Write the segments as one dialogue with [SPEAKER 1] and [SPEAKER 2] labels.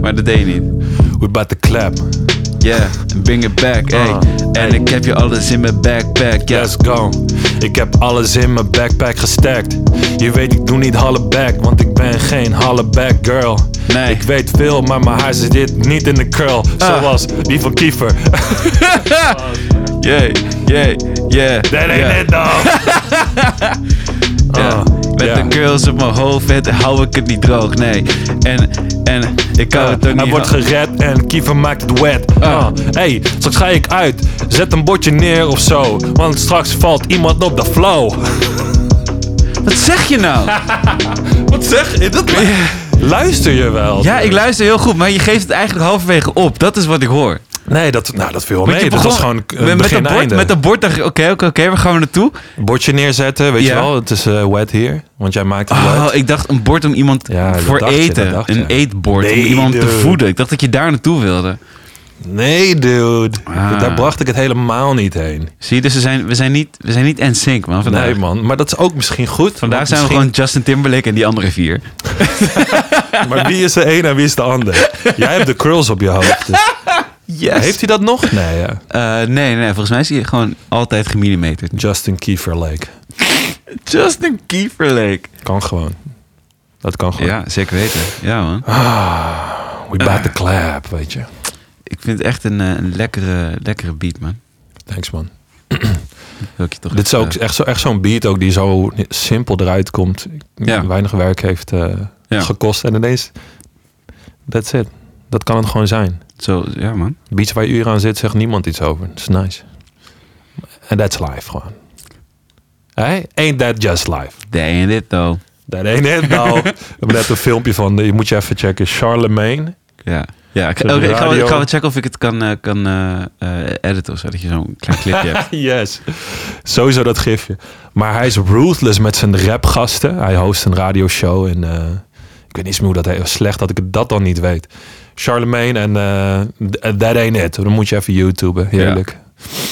[SPEAKER 1] Maar dat deed je niet.
[SPEAKER 2] Ah, We about to clap.
[SPEAKER 1] Yeah, bring it back, ey.
[SPEAKER 2] Ah,
[SPEAKER 1] En ik heb je alles in mijn backpack, ja.
[SPEAKER 2] Let's go. Ik heb alles in mijn backpack gestackt. Je weet, ik doe niet halleback, want ik ben geen halleback girl.
[SPEAKER 1] Nee.
[SPEAKER 2] Ik weet veel, maar mijn haar zit niet in de curl.
[SPEAKER 1] Ah. Oh,
[SPEAKER 2] Zoals die van Kiefer.
[SPEAKER 1] Yeah, yeah, yeah.
[SPEAKER 2] Dat
[SPEAKER 1] yeah.
[SPEAKER 2] ain't it though.
[SPEAKER 1] Ja, Met
[SPEAKER 2] Ah, ja.
[SPEAKER 1] de girls op mijn hoofd het- hou ik het niet droog, nee. En, en ik kan het ook niet
[SPEAKER 2] Hij wordt
[SPEAKER 1] hou-
[SPEAKER 2] gered en Kiefer maakt het wet. Ah. Hey, straks ga ik uit. Zet een bordje neer of zo. Want straks valt iemand op de flow.
[SPEAKER 1] Wat zeg je nou?
[SPEAKER 2] Wat zeg je? Dat... Luister je wel?
[SPEAKER 1] Ja, ik luister heel goed, maar je geeft het eigenlijk halverwege op. Dat is wat ik hoor.
[SPEAKER 2] Nee, dat, nou, dat viel wel
[SPEAKER 1] Want
[SPEAKER 2] mee.
[SPEAKER 1] je
[SPEAKER 2] Dat
[SPEAKER 1] begon-
[SPEAKER 2] was gewoon eh,
[SPEAKER 1] met,
[SPEAKER 2] begin
[SPEAKER 1] een bord,
[SPEAKER 2] einde.
[SPEAKER 1] met een bord dacht ik, oké, oké, oké, waar gaan we naartoe?
[SPEAKER 2] bordje neerzetten, weet
[SPEAKER 1] Ja.
[SPEAKER 2] je wel. Het is eh, wet hier, want jij maakt het
[SPEAKER 1] Oh,
[SPEAKER 2] wet.
[SPEAKER 1] ik dacht een bord om iemand
[SPEAKER 2] Ja, dat
[SPEAKER 1] voor
[SPEAKER 2] dacht je, dat
[SPEAKER 1] eten.
[SPEAKER 2] dacht
[SPEAKER 1] een
[SPEAKER 2] je.
[SPEAKER 1] eetbord om
[SPEAKER 2] Nee,
[SPEAKER 1] iemand te
[SPEAKER 2] dude.
[SPEAKER 1] voeden. Ik dacht dat je daar naartoe wilde.
[SPEAKER 2] Nee, dude.
[SPEAKER 1] Ah.
[SPEAKER 2] Daar bracht ik het helemaal niet heen.
[SPEAKER 1] Zie je, dus we zijn, we zijn niet, we zijn niet en sync, man, vandaag.
[SPEAKER 2] Nee, man. Maar dat is ook misschien goed.
[SPEAKER 1] Vandaag
[SPEAKER 2] want
[SPEAKER 1] zijn we gewoon Justin Timberlake en die andere vier.
[SPEAKER 2] misschien- Maar wie is de een en wie is de ander? jij hebt de curls op je hoofd. dus-
[SPEAKER 1] Yes.
[SPEAKER 2] Heeft hij dat nog? Nee, ja.
[SPEAKER 1] Eh, nee, nee, volgens mij is hij gewoon altijd gemillimeterd.
[SPEAKER 2] Justin Kieferlake.
[SPEAKER 1] Justin Kieferlake.
[SPEAKER 2] Kan gewoon. Dat kan gewoon.
[SPEAKER 1] Ja, zeker weten. Ja, man.
[SPEAKER 2] We baat de clap, weet je.
[SPEAKER 1] Ik vind het echt een, eh, een lekkere, lekkere beat, man.
[SPEAKER 2] Thanks, man.
[SPEAKER 1] Wil ik je toch
[SPEAKER 2] Dit is
[SPEAKER 1] even-
[SPEAKER 2] ook echt zo'n echt zo'n beat ook die zo simpel eruit komt.
[SPEAKER 1] Ja.
[SPEAKER 2] Weinig werk heeft eh,
[SPEAKER 1] Ja.
[SPEAKER 2] gekost. En ineens, that's it. Dat kan het gewoon zijn.
[SPEAKER 1] Zo, ja, man.
[SPEAKER 2] Beats waar je uren aan zit, zegt niemand iets over. Dat is nice. En that's life gewoon. Hey, ain't that just life?
[SPEAKER 1] Dang dit, though.
[SPEAKER 2] Dat ain't it nou. We hebben net een filmpje van, eh, je moet je even checken. Charlemagne.
[SPEAKER 1] Ja. Ja, ik,
[SPEAKER 2] De
[SPEAKER 1] oké, ik, ga, wel- ik
[SPEAKER 2] radio.
[SPEAKER 1] ga wel checken of ik het kan, eh, kan eh, eh, editen of zo. Dat je zo'n klein clipje hebt.
[SPEAKER 2] Yes. Sowieso dat gifje. Maar hij is ruthless met zijn rapgasten. Hij host een radioshow en eh, ik weet niet eens meer hoe dat heet. Slecht dat ik dat dan niet weet. Charlemagne en eh That Ain't It. Dan moet je even YouTuben. Heerlijk.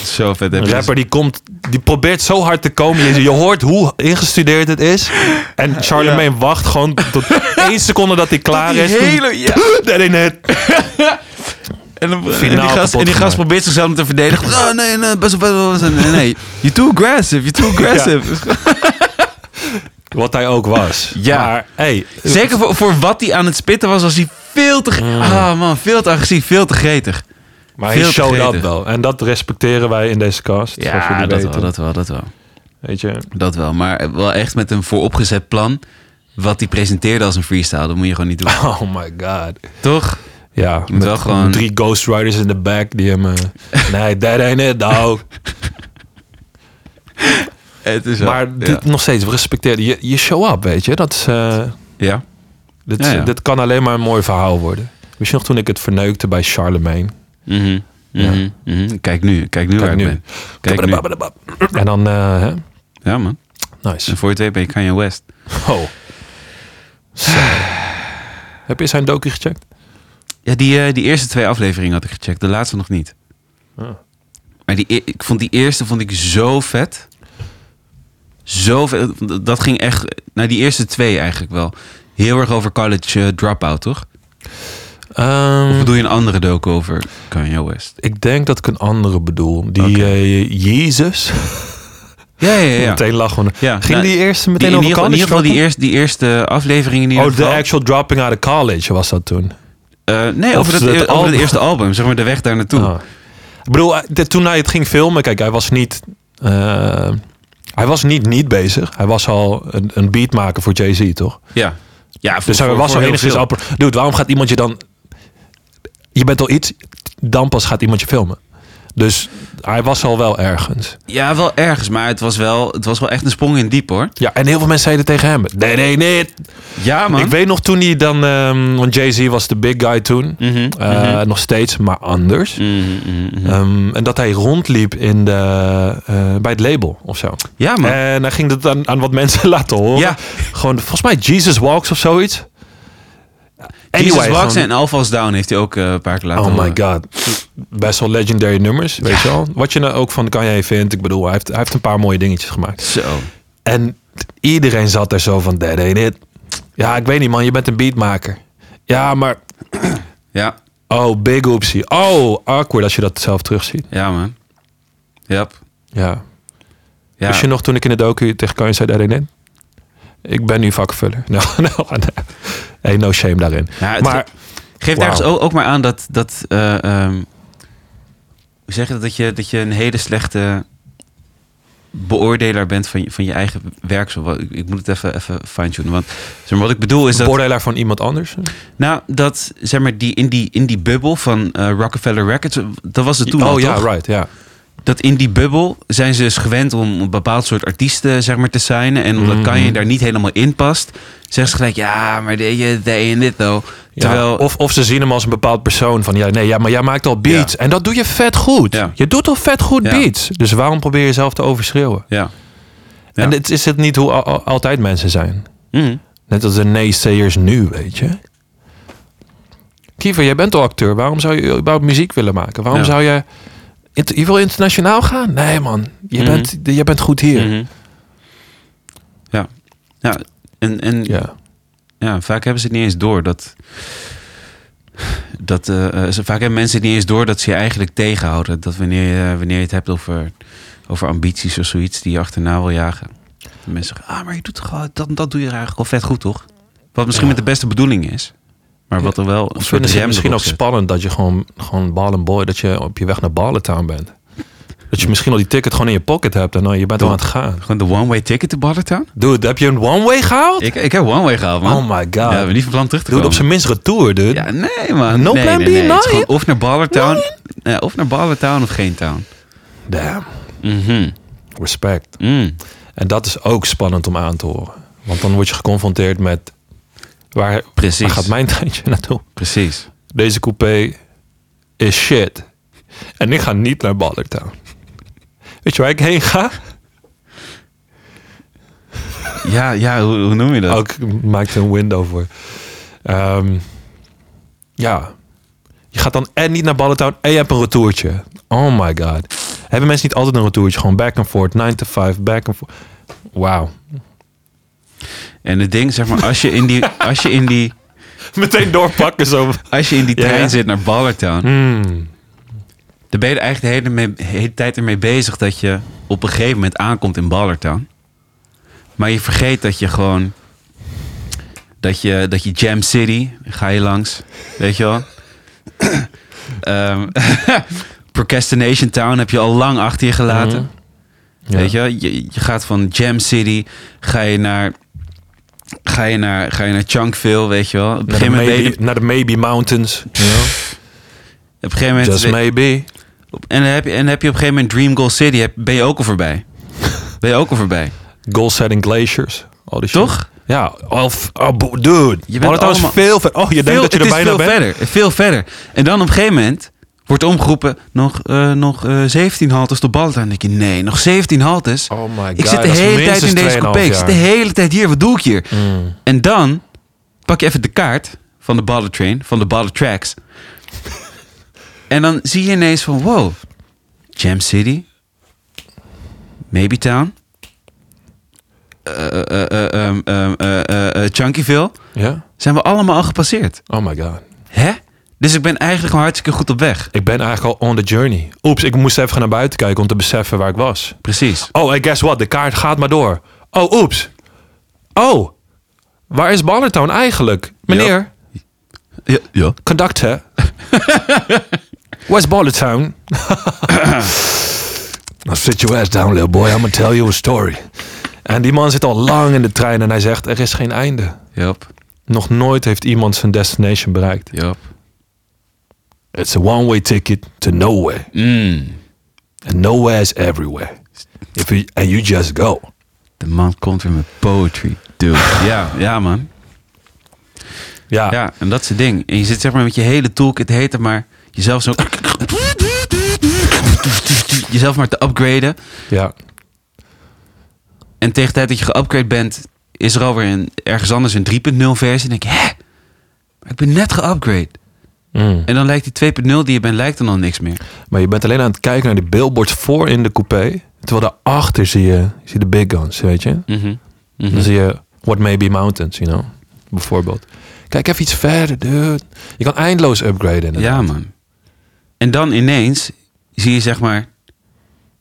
[SPEAKER 1] Zo vet. Heb
[SPEAKER 2] Een
[SPEAKER 1] je
[SPEAKER 2] rapper die komt, die probeert zo hard te komen. Je, je hoort hoe ingestudeerd het is. En Charlemagne wacht gewoon tot één seconde dat hij klaar
[SPEAKER 1] die
[SPEAKER 2] is. Toen-
[SPEAKER 1] hele- ja.
[SPEAKER 2] That Ain't It.
[SPEAKER 1] En, dan- en die
[SPEAKER 2] Finaal
[SPEAKER 1] gast,
[SPEAKER 2] kapot
[SPEAKER 1] en die gast
[SPEAKER 2] gemaakt.
[SPEAKER 1] probeert zichzelf te verdedigen. Oh, nee, nee, best wel, best wel. Nee, nee. You're too aggressive. You're too aggressive.
[SPEAKER 2] Wat hij ook was.
[SPEAKER 1] Ja.
[SPEAKER 2] Maar hey,
[SPEAKER 1] Zeker voor, voor wat hij aan het spitten was, was hij veel te... Ah, man. Veel te agressief. Veel te gretig.
[SPEAKER 2] Maar
[SPEAKER 1] Veel
[SPEAKER 2] hij
[SPEAKER 1] te
[SPEAKER 2] showed up
[SPEAKER 1] gretig.
[SPEAKER 2] wel. En dat respecteren wij in deze cast. zoals
[SPEAKER 1] Ja,
[SPEAKER 2] jullie
[SPEAKER 1] dat
[SPEAKER 2] weten.
[SPEAKER 1] wel, dat wel, dat wel.
[SPEAKER 2] Weet je?
[SPEAKER 1] Dat wel, maar wel echt met een vooropgezet plan. Wat hij presenteerde als een freestyle, dat moet je gewoon niet doen.
[SPEAKER 2] Oh my god.
[SPEAKER 1] Toch?
[SPEAKER 2] Ja,
[SPEAKER 1] moet
[SPEAKER 2] met
[SPEAKER 1] wel gewoon-
[SPEAKER 2] drie Ghost Riders in de back die hem... eh, nee, dat ain't it, dog.
[SPEAKER 1] Het is
[SPEAKER 2] maar dit
[SPEAKER 1] ja.
[SPEAKER 2] nog steeds, respecteer. Je, je show up, weet je? Dat is, eh,
[SPEAKER 1] ja.
[SPEAKER 2] dit,
[SPEAKER 1] Ja, ja.
[SPEAKER 2] dit kan alleen maar een mooi verhaal worden. Weet je nog toen ik het verneukte bij Charlemagne?
[SPEAKER 1] Mhm, mhm, mhm. Kijk nu, kijk nu waar
[SPEAKER 2] Kijk
[SPEAKER 1] ik
[SPEAKER 2] nu.
[SPEAKER 1] ben. Kijk nu.
[SPEAKER 2] En dan... eh, hè?
[SPEAKER 1] Ja man,
[SPEAKER 2] Nice.
[SPEAKER 1] en voor je twee ben je Kanye West.
[SPEAKER 2] Oh. Zo. Heb je zijn docu gecheckt?
[SPEAKER 1] Ja, die, eh, die eerste twee afleveringen had ik gecheckt, de laatste nog niet.
[SPEAKER 2] Ah.
[SPEAKER 1] Maar die, e- ik vond die eerste vond ik zo vet. Zo vet. Dat ging echt, nou die eerste twee eigenlijk wel. Heel erg over college eh, dropout, toch?
[SPEAKER 2] Ehm,
[SPEAKER 1] Of bedoel je een andere docu over Kanye West?
[SPEAKER 2] Ik denk dat ik een andere bedoel. Die
[SPEAKER 1] Oké.
[SPEAKER 2] eh, Jezus.
[SPEAKER 1] Ja, ja, ja.
[SPEAKER 2] Meteen lachen.
[SPEAKER 1] Ja,
[SPEAKER 2] Ging
[SPEAKER 1] nou,
[SPEAKER 2] die eerste meteen
[SPEAKER 1] Die- in,
[SPEAKER 2] over
[SPEAKER 1] ieder geval,
[SPEAKER 2] college
[SPEAKER 1] in ieder geval die
[SPEAKER 2] droppen?
[SPEAKER 1] eerste, die eerste aflevering in ieder
[SPEAKER 2] Oh, de
[SPEAKER 1] geval.
[SPEAKER 2] actual dropping out of college was dat toen.
[SPEAKER 1] Eh, nee,
[SPEAKER 2] of
[SPEAKER 1] over, dat,
[SPEAKER 2] het
[SPEAKER 1] over
[SPEAKER 2] album.
[SPEAKER 1] het eerste album. Zeg maar de weg daar naartoe.
[SPEAKER 2] Ah. Ik bedoel, eh, de- toen hij het ging filmen, kijk, hij was niet... eh, hij was niet niet bezig. Hij was al een, een beat maken voor Jay-Z, toch?
[SPEAKER 1] Ja. ja voor-
[SPEAKER 2] Dus hij
[SPEAKER 1] voor-
[SPEAKER 2] was
[SPEAKER 1] voor
[SPEAKER 2] al
[SPEAKER 1] heel
[SPEAKER 2] enigszins...
[SPEAKER 1] veel.
[SPEAKER 2] al pro- Dude, waarom gaat iemand je dan... Je bent al iets, dan pas gaat iemand je filmen. Dus hij was al wel ergens.
[SPEAKER 1] Ja, wel ergens. Maar het was wel, het was wel echt een sprong in diep, hoor.
[SPEAKER 2] Ja, en heel veel mensen zeiden tegen hem... Nee, nee, nee,
[SPEAKER 1] Ja, man.
[SPEAKER 2] Ik weet nog toen hij dan, ehm, want Jay-Z was de big guy toen.
[SPEAKER 1] Mhm,
[SPEAKER 2] Eh, Nog steeds, maar anders.
[SPEAKER 1] mhm, mhm, mhm.
[SPEAKER 2] Ehm, en dat hij rondliep in de, eh, bij het label of zo.
[SPEAKER 1] Ja, man.
[SPEAKER 2] En hij ging dat aan, aan wat mensen laten horen.
[SPEAKER 1] Ah, Ja.
[SPEAKER 2] Gewoon, volgens mij, Jesus Walks of zoiets.
[SPEAKER 1] Jesus
[SPEAKER 2] anyway,
[SPEAKER 1] Walks
[SPEAKER 2] gewoon-
[SPEAKER 1] en Alphas Down heeft hij ook eh, een paar keer laten
[SPEAKER 2] Oh my
[SPEAKER 1] horen.
[SPEAKER 2] god. Best wel legendary nummers, weet je wel. Wat je nou ook van Kanye vindt. Ik bedoel, hij heeft, hij heeft een paar mooie dingetjes gemaakt.
[SPEAKER 1] Zo.
[SPEAKER 2] En iedereen zat er zo van, that ain't it. Ja, ik weet niet man, je bent een beatmaker. Ja, maar
[SPEAKER 1] Ja,
[SPEAKER 2] Oh, big oopsie. Oh, awkward als je dat zelf terugziet.
[SPEAKER 1] ja man. Yep.
[SPEAKER 2] Ja.
[SPEAKER 1] Ja.
[SPEAKER 2] Wist je nog toen ik in de docu tegen Kanye zei daarin in? Ik ben nu vakvuller. Nou, nou, nou. Hey, no shame daarin.
[SPEAKER 1] Ja, het
[SPEAKER 2] maar
[SPEAKER 1] Geeft
[SPEAKER 2] nou- Wauw.
[SPEAKER 1] ergens ook, ook maar aan dat. dat eh, ehm, hoe zeg je dat? Dat je, dat je een hele slechte beoordelaar bent van je, van je eigen werk. Zo, wat- Ik, ik moet het even, even fine-tunen. Want zeg maar, wat ik bedoel is
[SPEAKER 2] is
[SPEAKER 1] dat.
[SPEAKER 2] beoordelaar van iemand anders?
[SPEAKER 1] Nou, dat zeg maar, die, in, die, in die bubbel van eh, Rockefeller Records. Dat was het toen. al,
[SPEAKER 2] oh ja,
[SPEAKER 1] toch?
[SPEAKER 2] right. Ja.
[SPEAKER 1] dat in die bubbel zijn ze dus gewend om een bepaald soort artiesten zeg maar, te signen. En omdat
[SPEAKER 2] Mhm.
[SPEAKER 1] Kanye daar niet helemaal in past, zeggen ze gelijk, ja, maar dit je they en dit though.
[SPEAKER 2] Ja,
[SPEAKER 1] Terwijl,
[SPEAKER 2] of, of ze zien hem als een bepaald persoon. Van ja, nee, ja, maar jij maakt al beats.
[SPEAKER 1] Ja.
[SPEAKER 2] En dat doe je vet goed.
[SPEAKER 1] Ja.
[SPEAKER 2] Je doet al vet goed
[SPEAKER 1] Ja.
[SPEAKER 2] beats. Dus waarom probeer je jezelf te overschreeuwen?
[SPEAKER 1] ja. Ja.
[SPEAKER 2] En het is het niet hoe al- al- altijd mensen zijn.
[SPEAKER 1] Mhm.
[SPEAKER 2] Net als de naysayers nu, weet je. Kiefer, jij bent al acteur. Waarom zou je überhaupt muziek willen maken? Waarom
[SPEAKER 1] Ja.
[SPEAKER 2] zou je... Int- Je wil internationaal gaan? Nee, man. Je,
[SPEAKER 1] Mhm.
[SPEAKER 2] bent, je bent goed hier.
[SPEAKER 1] Mhm. Ja. Ja, en, en ja.
[SPEAKER 2] Ja.
[SPEAKER 1] vaak hebben ze het niet eens door dat. dat eh, eh, ze- vaak hebben mensen het niet eens door dat ze je eigenlijk tegenhouden. Dat wanneer je, eh, wanneer je het hebt over, over ambities of zoiets die je achterna wil jagen. Dat mensen zeggen, ah, maar je doet toch wel- dat, en dat doe je eigenlijk al vet goed, toch? Wat misschien
[SPEAKER 2] Ja.
[SPEAKER 1] met de beste bedoeling is. Maar wat er wel
[SPEAKER 2] Of
[SPEAKER 1] een soort
[SPEAKER 2] vinden ze het
[SPEAKER 1] rem
[SPEAKER 2] misschien ook
[SPEAKER 1] erop zit.
[SPEAKER 2] spannend dat je gewoon, gewoon ball and boy, dat je op je weg naar Ballentown bent. Dat je misschien al die ticket gewoon in je pocket hebt en dan je bent al aan het gaan.
[SPEAKER 1] Gewoon de one-way ticket te Ballertown?
[SPEAKER 2] Dude, heb je een one-way gehaald?
[SPEAKER 1] Ik, ik heb one-way gehaald, man.
[SPEAKER 2] oh my god.
[SPEAKER 1] ja, we hebben niet van plan terug te
[SPEAKER 2] dude, op
[SPEAKER 1] komen.
[SPEAKER 2] zijn minst retour, dude.
[SPEAKER 1] Ja, nee man.
[SPEAKER 2] No
[SPEAKER 1] nee,
[SPEAKER 2] plan
[SPEAKER 1] nee,
[SPEAKER 2] B,
[SPEAKER 1] nee. Het is
[SPEAKER 2] no?
[SPEAKER 1] gewoon of naar Ballertown. eh, of naar Ballertown of geen town.
[SPEAKER 2] Damn.
[SPEAKER 1] Mhm.
[SPEAKER 2] Respect.
[SPEAKER 1] Mm.
[SPEAKER 2] En dat is ook spannend om aan te horen. Want dan word je geconfronteerd met... Waar,
[SPEAKER 1] Precies.
[SPEAKER 2] waar gaat mijn tijdje naartoe?
[SPEAKER 1] Precies.
[SPEAKER 2] Deze coupé is shit. En ik ga niet naar Ballertown. Weet je waar ik heen ga?
[SPEAKER 1] Ja, ja hoe, hoe noem je dat?
[SPEAKER 2] Ook maakt een window voor. Ehm, ja. Je gaat dan en niet naar Ballentown en je hebt een retourtje. Oh my god. Hebben mensen niet altijd een retourtje? Gewoon back and forth, 9 to 5, back and forth. Wauw.
[SPEAKER 1] En het ding, zeg maar, als je in die, als je in die,
[SPEAKER 2] Meteen doorpakken zo.
[SPEAKER 1] als je in die
[SPEAKER 2] Ja.
[SPEAKER 1] trein zit naar Ballertown,
[SPEAKER 2] Hmm.
[SPEAKER 1] dan ben je er eigenlijk de hele, mee- de hele tijd ermee bezig dat je op een gegeven moment aankomt in Ballertown. Maar je vergeet dat je gewoon, dat je, dat je Jam City, ga je langs, weet je wel. Ehm, Procrastination Town heb je al lang achter je gelaten.
[SPEAKER 2] Mhm. Ja.
[SPEAKER 1] Weet je, wel? je, je gaat van Jam City, ga je naar, ga je naar, ga je naar Chunkville, weet je wel. Op een
[SPEAKER 2] Naar de,
[SPEAKER 1] gegeven moment, weet je-
[SPEAKER 2] maybe, naar de Maybe Mountains. you know?
[SPEAKER 1] op een gegeven moment
[SPEAKER 2] Just
[SPEAKER 1] weet-
[SPEAKER 2] maybe.
[SPEAKER 1] op- en, dan heb je, en dan heb je op een gegeven moment Dream Goal City, heb- ben je ook al voorbij. Ben je ook al voorbij.
[SPEAKER 2] Goal setting glaciers. Al die shit.
[SPEAKER 1] Toch?
[SPEAKER 2] Ja. Of, oh, bo- dude.
[SPEAKER 1] bent
[SPEAKER 2] Ballentown is
[SPEAKER 1] allemaal-
[SPEAKER 2] veel ver. Oh, je
[SPEAKER 1] Veel-
[SPEAKER 2] denkt dat je
[SPEAKER 1] het
[SPEAKER 2] er
[SPEAKER 1] is
[SPEAKER 2] bijna
[SPEAKER 1] veel
[SPEAKER 2] bent?
[SPEAKER 1] verder, veel verder. En dan op een gegeven moment wordt omgeroepen, nog, eh, nog eh 17 haltes tot Balta. En dan denk je, nee, nog 17 haltes.
[SPEAKER 2] Oh my god.
[SPEAKER 1] ik zit de
[SPEAKER 2] dat is
[SPEAKER 1] hele tijd
[SPEAKER 2] minstens
[SPEAKER 1] in deze
[SPEAKER 2] 2,5
[SPEAKER 1] coupé. Ik zit de
[SPEAKER 2] jaar.
[SPEAKER 1] hele tijd hier. Wat doe ik hier?
[SPEAKER 2] Mm.
[SPEAKER 1] En dan pak je even de kaart van de Baller Train, van de Baller Tracks. en dan zie je ineens van, wow, Jam City, Maybe Town, eh, eh, eh, ehm, ehm, eh, eh, eh, Chunkyville,
[SPEAKER 2] Ja?
[SPEAKER 1] zijn we allemaal al gepasseerd.
[SPEAKER 2] Oh my god.
[SPEAKER 1] Hè? Dus ik ben eigenlijk gewoon hartstikke goed op weg.
[SPEAKER 2] Ik ben eigenlijk al on the journey. Oeps, ik moest even naar buiten kijken om te beseffen waar ik was.
[SPEAKER 1] Precies.
[SPEAKER 2] Oh, en guess what? De kaart gaat maar door. Oh, oeps. Oh, waar is Ballertown eigenlijk? Meneer,
[SPEAKER 1] Ja. ja.
[SPEAKER 2] conductor. Where's Ballertown? Now sit your ass down, little boy. I'm gonna tell you a story. En die man zit al lang in de trein en hij zegt, er is geen einde.
[SPEAKER 1] Yep.
[SPEAKER 2] Nog nooit heeft iemand zijn destination bereikt.
[SPEAKER 1] Yep.
[SPEAKER 2] It's a one-way ticket to nowhere.
[SPEAKER 1] Mm.
[SPEAKER 2] And nowhere is everywhere. If you, and you just go.
[SPEAKER 1] De man komt weer met poetry, dude. ja, ja man.
[SPEAKER 2] Ja,
[SPEAKER 1] Ja, en dat is het ding. En je zit zeg maar met je hele toolkit, heet het maar, jezelf zo... jezelf maar te upgraden.
[SPEAKER 2] ja.
[SPEAKER 1] En tegen de tijd dat je geupgrade bent, is er alweer een, ergens anders een 3.0 versie. En denk je, hè? Maar ik ben net geupgrade.
[SPEAKER 2] Mm.
[SPEAKER 1] En dan lijkt die 2.0 die je bent, lijkt dan al niks meer.
[SPEAKER 2] Maar je bent alleen aan het kijken naar de billboards voor in de coupé. Terwijl daarachter zie je, zie je de big guns, weet je.
[SPEAKER 1] Mhm. Mhm.
[SPEAKER 2] Dan zie je What May Be Mountains, you know. Bijvoorbeeld. Kijk even iets verder, dude. Je kan eindeloos upgraden. inderdaad.
[SPEAKER 1] Ja, man. En dan ineens zie je zeg maar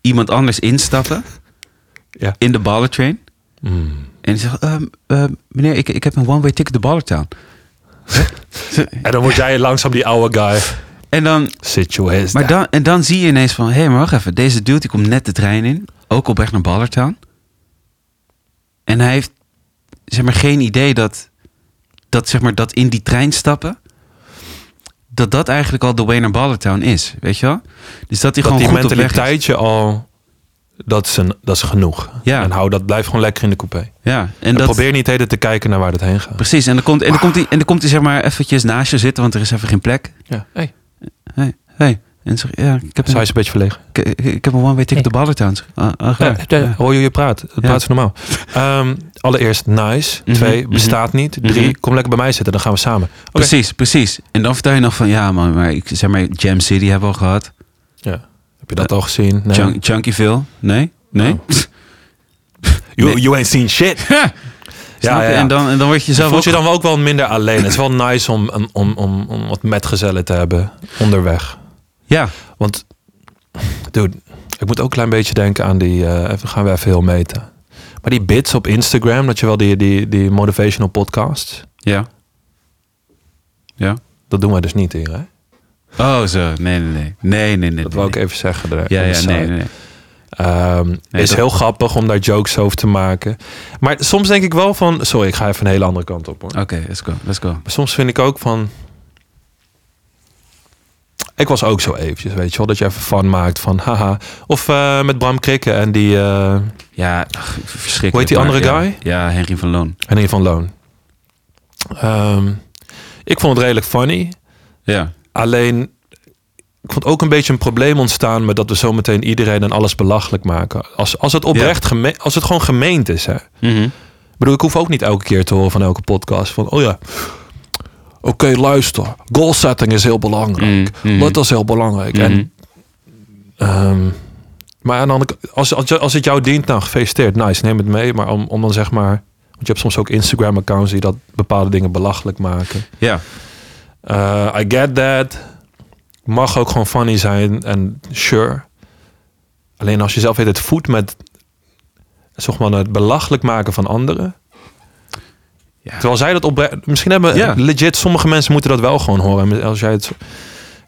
[SPEAKER 1] iemand anders instappen
[SPEAKER 2] Ja.
[SPEAKER 1] in de ballentrain.
[SPEAKER 2] Mm.
[SPEAKER 1] En die zegt, ehm, ehm, meneer, ik, ik heb een one-way ticket de Ballertown.
[SPEAKER 2] En dan word jij langzaam die oude guy.
[SPEAKER 1] En dan,
[SPEAKER 2] Sit your ass
[SPEAKER 1] maar dan, en dan zie je ineens van, hé, hey, maar wacht even. Deze dude die komt net de trein in, ook op weg naar Ballertown. En hij heeft, zeg maar, geen idee dat, dat, zeg maar, dat in die trein stappen, dat dat eigenlijk al de way naar Ballertown is, weet je wel? Dus dat hij
[SPEAKER 2] dat
[SPEAKER 1] gewoon
[SPEAKER 2] die
[SPEAKER 1] goed op weg is.
[SPEAKER 2] mentaliteitje al. Dat is, een, dat is genoeg.
[SPEAKER 1] Ja.
[SPEAKER 2] En hou dat, blijf gewoon lekker in de coupé. En,
[SPEAKER 1] Ja, en dat...
[SPEAKER 2] probeer niet heden te kijken naar waar dat heen gaat.
[SPEAKER 1] Precies, en dan komt, en dan komt, hij, en dan komt hij zeg maar eventjes naast je zitten, want er is even geen plek.
[SPEAKER 2] Ja. Hey.
[SPEAKER 1] Hey, hey. En zeg, ja, ik heb
[SPEAKER 2] Zij
[SPEAKER 1] een,
[SPEAKER 2] is een beetje verlegen.
[SPEAKER 1] ik, ik heb een one-way ticket op Ballertown. Ah, ah,
[SPEAKER 2] Ja,
[SPEAKER 1] graag.
[SPEAKER 2] ja, Hoor je je praat? Het
[SPEAKER 1] Ja.
[SPEAKER 2] praat is normaal. Ehm, allereerst, nice.
[SPEAKER 1] Mhm,
[SPEAKER 2] Twee,
[SPEAKER 1] mhm.
[SPEAKER 2] bestaat niet. Drie,
[SPEAKER 1] Mhm.
[SPEAKER 2] kom lekker bij mij zitten. Dan gaan we samen. Oké.
[SPEAKER 1] Precies, precies. En dan vertel je nog van, ja man, maar ik zeg maar, Jam City hebben we al gehad.
[SPEAKER 2] Ja. Heb je dat al gezien? Nee.
[SPEAKER 1] Chunk, Chunkyville? Nee? Nee?
[SPEAKER 2] Nou, You, you ain't seen shit.
[SPEAKER 1] Snap
[SPEAKER 2] ja,
[SPEAKER 1] je?
[SPEAKER 2] ja.
[SPEAKER 1] En, dan, en dan word je zelf
[SPEAKER 2] Voel je
[SPEAKER 1] ook...
[SPEAKER 2] dan wel ook wel minder alleen. Het is wel nice om, om, om, om, om wat metgezellen te hebben onderweg.
[SPEAKER 1] Ja,
[SPEAKER 2] Want, dude, ik moet ook een klein beetje denken aan die... eh, even, gaan we even heel meten. Maar die bits op Instagram, dat je wel die, die, die motivational podcasts...
[SPEAKER 1] ja. Ja.
[SPEAKER 2] Dat doen wij dus niet hier, hè?
[SPEAKER 1] Oh zo, nee, nee, nee. Nee, nee, nee.
[SPEAKER 2] Dat
[SPEAKER 1] nee,
[SPEAKER 2] wil ik
[SPEAKER 1] nee.
[SPEAKER 2] even zeggen. Er,
[SPEAKER 1] Ja,
[SPEAKER 2] aan de
[SPEAKER 1] ja,
[SPEAKER 2] site.
[SPEAKER 1] nee, nee. nee.
[SPEAKER 2] Ehm,
[SPEAKER 1] Nee,
[SPEAKER 2] is
[SPEAKER 1] dat-
[SPEAKER 2] heel grappig om daar jokes over te maken. Maar soms denk ik wel van... Sorry, ik ga even een hele andere kant op, hoor.
[SPEAKER 1] Oké, let's go, let's go.
[SPEAKER 2] Maar soms vind ik ook van... Ik was ook zo eventjes, weet je wel. Dat je even fun maakt van haha. Of eh, met Bram Krikke en die eh
[SPEAKER 1] Ja, ach, verschrikkelijk.
[SPEAKER 2] Hoe heet die
[SPEAKER 1] maar
[SPEAKER 2] andere
[SPEAKER 1] ja.
[SPEAKER 2] guy?
[SPEAKER 1] Ja, Henry van Loon.
[SPEAKER 2] Henry van Loon. Ehm, ik vond het redelijk funny.
[SPEAKER 1] Ja.
[SPEAKER 2] Alleen, ik vond ook een beetje een probleem ontstaan... met dat we zometeen iedereen en alles belachelijk maken. Als, als het oprecht, geme- als het gewoon gemeend is, hè.
[SPEAKER 1] Mhm.
[SPEAKER 2] Ik bedoel, ik hoef ook niet elke keer te horen van elke podcast van, oh ja, oké, luister, goal setting is heel belangrijk.
[SPEAKER 1] Mm, mm.
[SPEAKER 2] Dat is heel belangrijk.
[SPEAKER 1] Mhm.
[SPEAKER 2] En, ehm, maar aan de andere kant, als, als, als het jou dient, nou gefeliciteerd, nice, neem het mee. Maar om, om dan zeg maar, want je hebt soms ook Instagram-accounts die dat bepaalde dingen belachelijk maken.
[SPEAKER 1] Ja,
[SPEAKER 2] Eh, I get that. Mag ook gewoon funny zijn en sure. Alleen als je zelf weet het voedt met zeg maar, het belachelijk maken van anderen.
[SPEAKER 1] Ja.
[SPEAKER 2] Terwijl zij dat op. Misschien hebben
[SPEAKER 1] Ja. legit,
[SPEAKER 2] legit sommige mensen moeten dat wel gewoon horen. En Als jij het.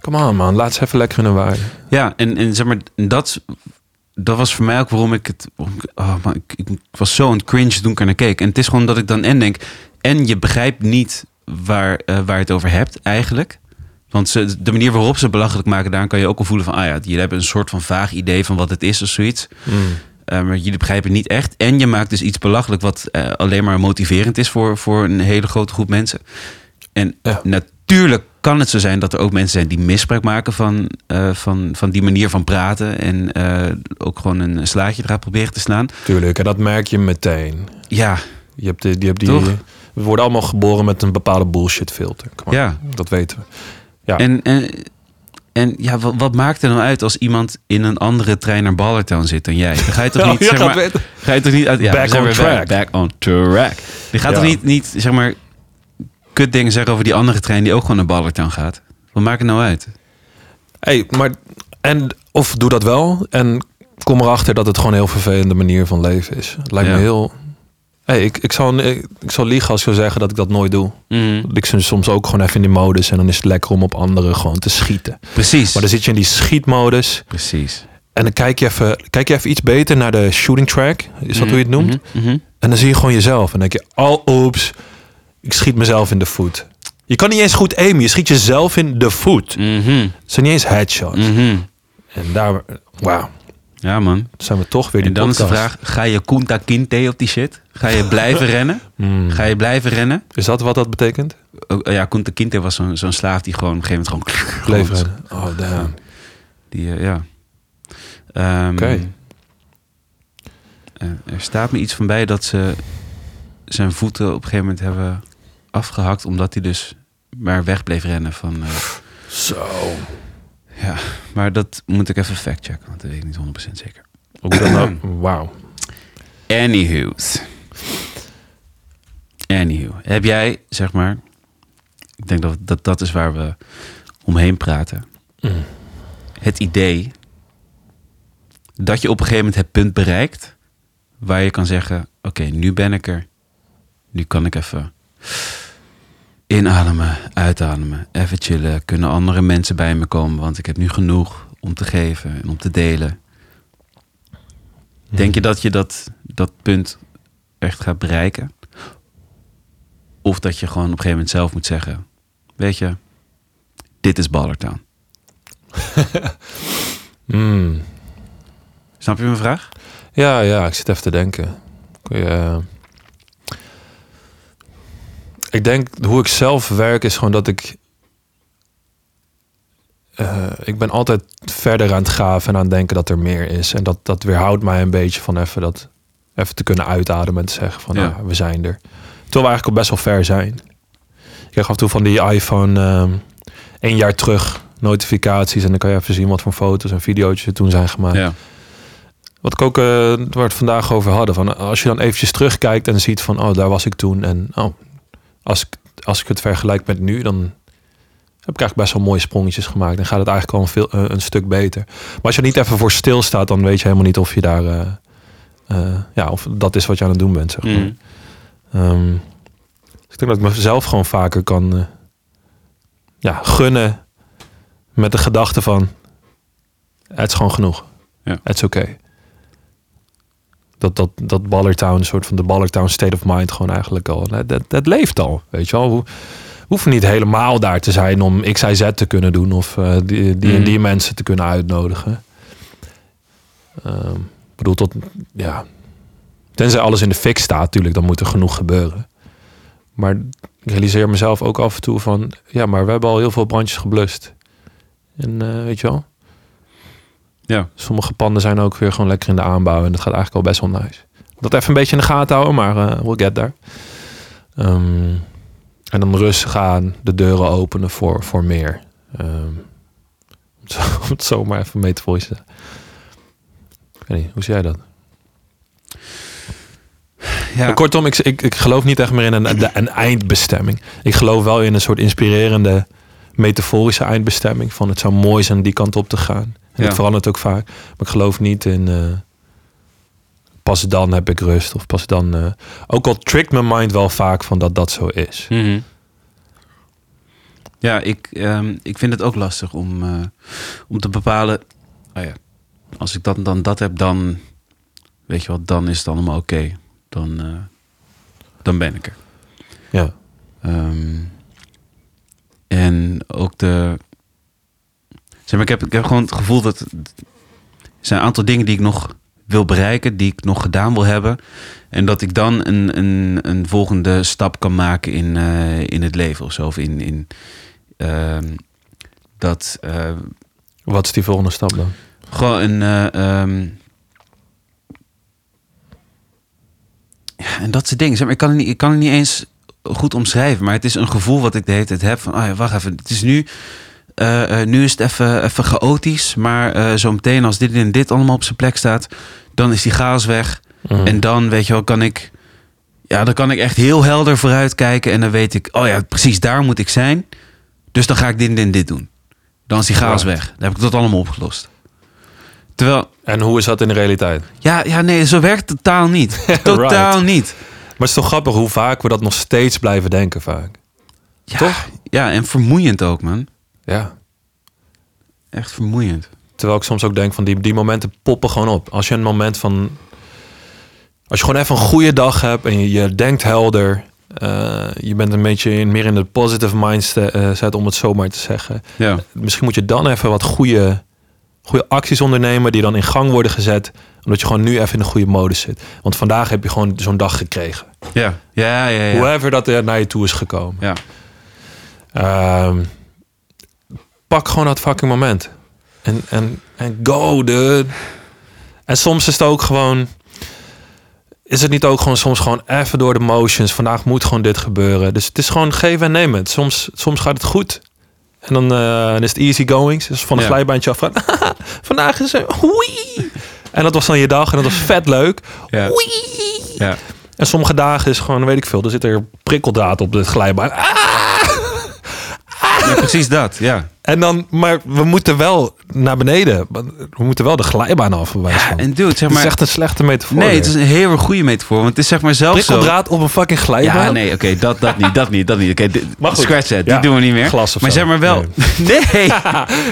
[SPEAKER 2] Come on man, laat ze even lekker in hun waarde.
[SPEAKER 1] ja en, en zeg maar, dat, dat was voor mij ook waarom ik het... waarom ik- oh man, ik, ik- ik was zo een cringe toen ik er naar keek. En het is gewoon dat ik dan en denk... En je begrijpt niet waar, eh, waar je het over hebt eigenlijk. Want ze, de manier waarop ze het belachelijk maken... daar kan je ook al voelen van... Ah ja, jullie hebben een soort van vaag idee van wat het is of zoiets. Eh, maar jullie begrijpen het niet echt. En je maakt dus iets belachelijk... wat eh, alleen maar motiverend is voor, voor een hele grote groep mensen. En
[SPEAKER 2] Ja.
[SPEAKER 1] natuurlijk kan het zo zijn dat er ook mensen zijn die misbruik maken van, eh, van, van die manier van praten. En eh, ook gewoon een slaatje eraan proberen te slaan.
[SPEAKER 2] Tuurlijk, en dat merk je meteen.
[SPEAKER 1] Ja,
[SPEAKER 2] Je hebt die, die, hebt die
[SPEAKER 1] Toch?
[SPEAKER 2] We worden allemaal geboren met een bepaalde bullshit filter. Come on,
[SPEAKER 1] ja.
[SPEAKER 2] Dat weten we. Ja.
[SPEAKER 1] En, en, en ja, wat, wat maakt er nou uit als iemand in een andere trein naar Ballertown zit dan jij? Dan ga je toch
[SPEAKER 2] Ja,
[SPEAKER 1] niet,
[SPEAKER 2] je
[SPEAKER 1] zeg
[SPEAKER 2] gaat
[SPEAKER 1] maar,
[SPEAKER 2] weten.
[SPEAKER 1] ga je toch niet uit... Ja,
[SPEAKER 2] Back
[SPEAKER 1] we zijn
[SPEAKER 2] on
[SPEAKER 1] weer bij-
[SPEAKER 2] track.
[SPEAKER 1] Back on track. Je gaat
[SPEAKER 2] Ja.
[SPEAKER 1] toch niet, niet, zeg maar, kut dingen zeggen over die andere trein die ook gewoon naar Ballertown gaat? Wat maakt het nou uit?
[SPEAKER 2] Hey, maar en of doe dat wel en kom erachter dat het gewoon een heel vervelende manier van leven is. Het Lijkt
[SPEAKER 1] Ja.
[SPEAKER 2] me heel. Hey, ik, ik, zou, ik, ik zou liegen als ik zou zeggen dat ik dat nooit doe. Ik zit soms ook gewoon even in die modus en dan is het lekker om op anderen gewoon te schieten.
[SPEAKER 1] Precies.
[SPEAKER 2] Maar dan zit je in die schietmodus
[SPEAKER 1] Precies.
[SPEAKER 2] en dan kijk je even, kijk je even iets beter naar de shooting track. Is dat hoe je het noemt?
[SPEAKER 1] Mhm, mhm.
[SPEAKER 2] En dan zie je gewoon jezelf en dan denk je, oh oeps, ik schiet mezelf in de voet. Je kan niet eens goed aimen, je schiet jezelf in de voet.
[SPEAKER 1] Mhm,
[SPEAKER 2] Het zijn niet eens headshots.
[SPEAKER 1] mhm.
[SPEAKER 2] En daar, wauw.
[SPEAKER 1] Ja, man.
[SPEAKER 2] zijn we toch weer die
[SPEAKER 1] En dan is de
[SPEAKER 2] podcast.
[SPEAKER 1] vraag, ga je Kunta Kinte op die shit? Ga je blijven rennen?
[SPEAKER 2] Hmm.
[SPEAKER 1] Ga je blijven rennen?
[SPEAKER 2] Is dat wat dat betekent?
[SPEAKER 1] Oh, oh ja, Kunta Kinte was zo'n zo'n slaaf die gewoon op een gegeven moment gewoon... gewoon-
[SPEAKER 2] Leveren. Oh, damn.
[SPEAKER 1] Die, eh, ja. Ehm,
[SPEAKER 2] Oké.
[SPEAKER 1] eh, er staat me iets van bij dat ze zijn voeten op een gegeven moment hebben afgehakt... omdat hij dus maar weg bleef rennen van... eh,
[SPEAKER 2] Zo.
[SPEAKER 1] maar dat moet ik even factchecken, want dat weet ik niet 100% zeker.
[SPEAKER 2] Ook dan nou? Wauw.
[SPEAKER 1] Anywho's. Anywho. Heb jij, zeg maar, Ik denk dat dat, dat is waar we omheen praten.
[SPEAKER 2] Mm.
[SPEAKER 1] Het idee dat je op een gegeven moment het punt bereikt waar je kan zeggen: Oké, nu ben ik er. Nu kan ik even inademen, uitademen, even chillen. Kunnen andere mensen bij me komen, want ik heb nu genoeg om te geven en om te delen. Denk je dat je dat, dat punt echt gaat bereiken? Of dat je gewoon op een gegeven moment zelf moet zeggen: Weet je, dit is Ballertown.
[SPEAKER 2] Mm.
[SPEAKER 1] Snap je mijn vraag?
[SPEAKER 2] Ja, ja, ik zit even te denken. Kun je, eh, ik denk, hoe ik zelf werk is gewoon dat ik... eh, ik ben altijd verder aan het graven en aan het denken dat er meer is. En dat, dat weerhoudt mij een beetje van even, dat, even te kunnen uitademen en te zeggen van
[SPEAKER 1] Ja.
[SPEAKER 2] "Ah, we zijn er. Terwijl we eigenlijk al best wel ver zijn. Ik krijg af en toe van die iPhone ehm één jaar terug notificaties. En dan kan je even zien wat voor foto's en video's er toen zijn gemaakt.
[SPEAKER 1] Ja.
[SPEAKER 2] Wat ik ook, eh, waar we het vandaag over hadden. Van eh, als je dan eventjes terugkijkt en ziet van, oh, daar was ik toen. En oh, als, ik, als ik het vergelijk met nu, dan heb ik eigenlijk best wel mooie sprongetjes gemaakt. Dan gaat het eigenlijk al een, veel, eh, een stuk beter. Maar als je er niet even voor stilstaat, dan weet je helemaal niet of je daar, eh, eh, ja, of dat is wat je aan het doen bent. Zeg maar.
[SPEAKER 1] Mm.
[SPEAKER 2] Ehm, dus ik denk dat ik mezelf gewoon vaker kan eh, ja, gunnen met de gedachte van het is gewoon genoeg.
[SPEAKER 1] Ja.
[SPEAKER 2] Het is oké. Dat, dat, dat Ballertown, een soort van de Ballertown state of mind gewoon eigenlijk al. Dat, dat, dat leeft al, weet je wel. We hoeven niet helemaal daar te zijn om X, Y, Z te kunnen doen. Of eh, die, die en die
[SPEAKER 1] Mhm.
[SPEAKER 2] mensen te kunnen uitnodigen. Ehm, ik bedoel, tot, ja, Tenzij alles in de fik staat, natuurlijk, dan moet er genoeg gebeuren. Maar ik realiseer mezelf ook af en toe van, ja, maar we hebben al heel veel brandjes geblust. En eh, weet je wel?
[SPEAKER 1] Ja.
[SPEAKER 2] Sommige panden zijn ook weer gewoon lekker in de aanbouw en dat gaat eigenlijk al best wel nice. Dat even een beetje in de gaten houden, maar eh, we'll get there. Ehm, en dan rustig aan de deuren openen voor, voor meer. Ehm, om, het zo, om het zo maar even mee te voicen. Ik weet niet, hoe zie jij dat?
[SPEAKER 1] Ja.
[SPEAKER 2] Maar kortom, ik, ik, ik geloof niet echt meer in een, de- een eindbestemming. Ik geloof wel in een soort inspirerende, metaforische eindbestemming. Van het zou mooi zijn die kant op te gaan. En
[SPEAKER 1] Ja.
[SPEAKER 2] dat verandert ook vaak. Maar ik geloof niet in. eh, pas dan heb ik rust. Of pas dan. eh, ook al trickt mijn mind wel vaak van dat dat zo is.
[SPEAKER 1] Mhm. Ja, ik, ehm, ik vind het ook lastig om, eh, om te bepalen. ah ja, als ik dat, dan dat heb, dan weet je wel, dan is het allemaal oké. Dan, eh, dan ben ik er.
[SPEAKER 2] Ja.
[SPEAKER 1] Ehm, en ook de. Zeg maar, ik heb, ik heb gewoon het gevoel dat. Er zijn een aantal dingen die ik nog wil bereiken, die ik nog gedaan wil hebben. En dat ik dan een, een, een volgende stap kan maken in, eh, in het leven of zo. Of in. in ehm, dat. eh,
[SPEAKER 2] Wat is die volgende stap dan?
[SPEAKER 1] gewoon een. eh, ehm, ja, en dat soort dingen. Zeg maar, ik, kan het niet, ik kan het niet eens goed omschrijven, maar het is een gevoel wat ik de hele tijd heb van, ah ja, wacht even, het is nu, eh, eh, nu is het even, even chaotisch, maar eh zo meteen als dit en dit allemaal op zijn plek staat, dan is die chaos weg.
[SPEAKER 2] Mm.
[SPEAKER 1] En dan, weet je wel, kan ik... Ja, dan kan ik echt heel helder vooruit kijken. En dan weet ik, oh ja, precies daar moet ik zijn. Dus dan ga ik dit en dit, en dit doen. Dan is die chaos
[SPEAKER 2] Right.
[SPEAKER 1] weg. Dan heb ik dat allemaal opgelost. Terwijl,
[SPEAKER 2] en hoe is dat in de realiteit?
[SPEAKER 1] ja, ja nee, zo werkt het totaal niet. Totaal niet.
[SPEAKER 2] Maar het is toch grappig hoe vaak we dat nog steeds blijven denken vaak.
[SPEAKER 1] Ja,
[SPEAKER 2] Toch?
[SPEAKER 1] Ja, en vermoeiend ook, man.
[SPEAKER 2] Ja.
[SPEAKER 1] Echt vermoeiend.
[SPEAKER 2] Terwijl ik soms ook denk van die, die momenten poppen gewoon op. Als je een moment van. Als je gewoon even een goede dag hebt en je, je denkt helder. eh, je bent een beetje in, meer in de positive mindset eh, zet, om het zo maar te zeggen.
[SPEAKER 1] Ja,
[SPEAKER 2] Misschien moet je dan even wat goede, goede acties ondernemen die dan in gang worden gezet. Omdat je gewoon nu even in de goede modus zit. Want vandaag heb je gewoon zo'n dag gekregen.
[SPEAKER 1] ja, ja, ja. ja.
[SPEAKER 2] Hoever dat er naar je toe is gekomen.
[SPEAKER 1] Ja.
[SPEAKER 2] Ehm, pak gewoon dat fucking moment. En, en, en go, dude. En soms is het ook gewoon... Is het niet ook gewoon soms gewoon even door de motions. Vandaag moet gewoon dit gebeuren. Dus het is gewoon geven en nemen. Het- Soms, soms gaat het goed. En dan, eh, dan is het easy goings. Dus van een
[SPEAKER 1] Ja.
[SPEAKER 2] glijbaantje af. van, Vandaag is het... Hoei! En dat was dan je dag. En dat was vet leuk.
[SPEAKER 1] Ja.
[SPEAKER 2] Oei!
[SPEAKER 1] Ja.
[SPEAKER 2] En sommige dagen is gewoon, weet ik veel, er zit er prikkeldraad op het glijbaan. Ah!
[SPEAKER 1] Ja, precies dat, ja.
[SPEAKER 2] En dan, maar we moeten wel naar beneden. We moeten wel de glijbaan af. bij wijze van.
[SPEAKER 1] En dude, zeg
[SPEAKER 2] Het is
[SPEAKER 1] maar...
[SPEAKER 2] echt een slechte metafoor.
[SPEAKER 1] Nee,
[SPEAKER 2] weer.
[SPEAKER 1] het is een heel erg goede metafoor. Want het is zeg maar zelfs zo...
[SPEAKER 2] prikkeldraad op een fucking glijbaan.
[SPEAKER 1] Ja, nee, oké, dat, dat niet, dat niet, dat niet. Oké, dit-
[SPEAKER 2] Maar goed.
[SPEAKER 1] scratch it, die
[SPEAKER 2] Ja,
[SPEAKER 1] doen we niet meer.
[SPEAKER 2] glas of
[SPEAKER 1] maar
[SPEAKER 2] zo.
[SPEAKER 1] zeg maar wel... Nee,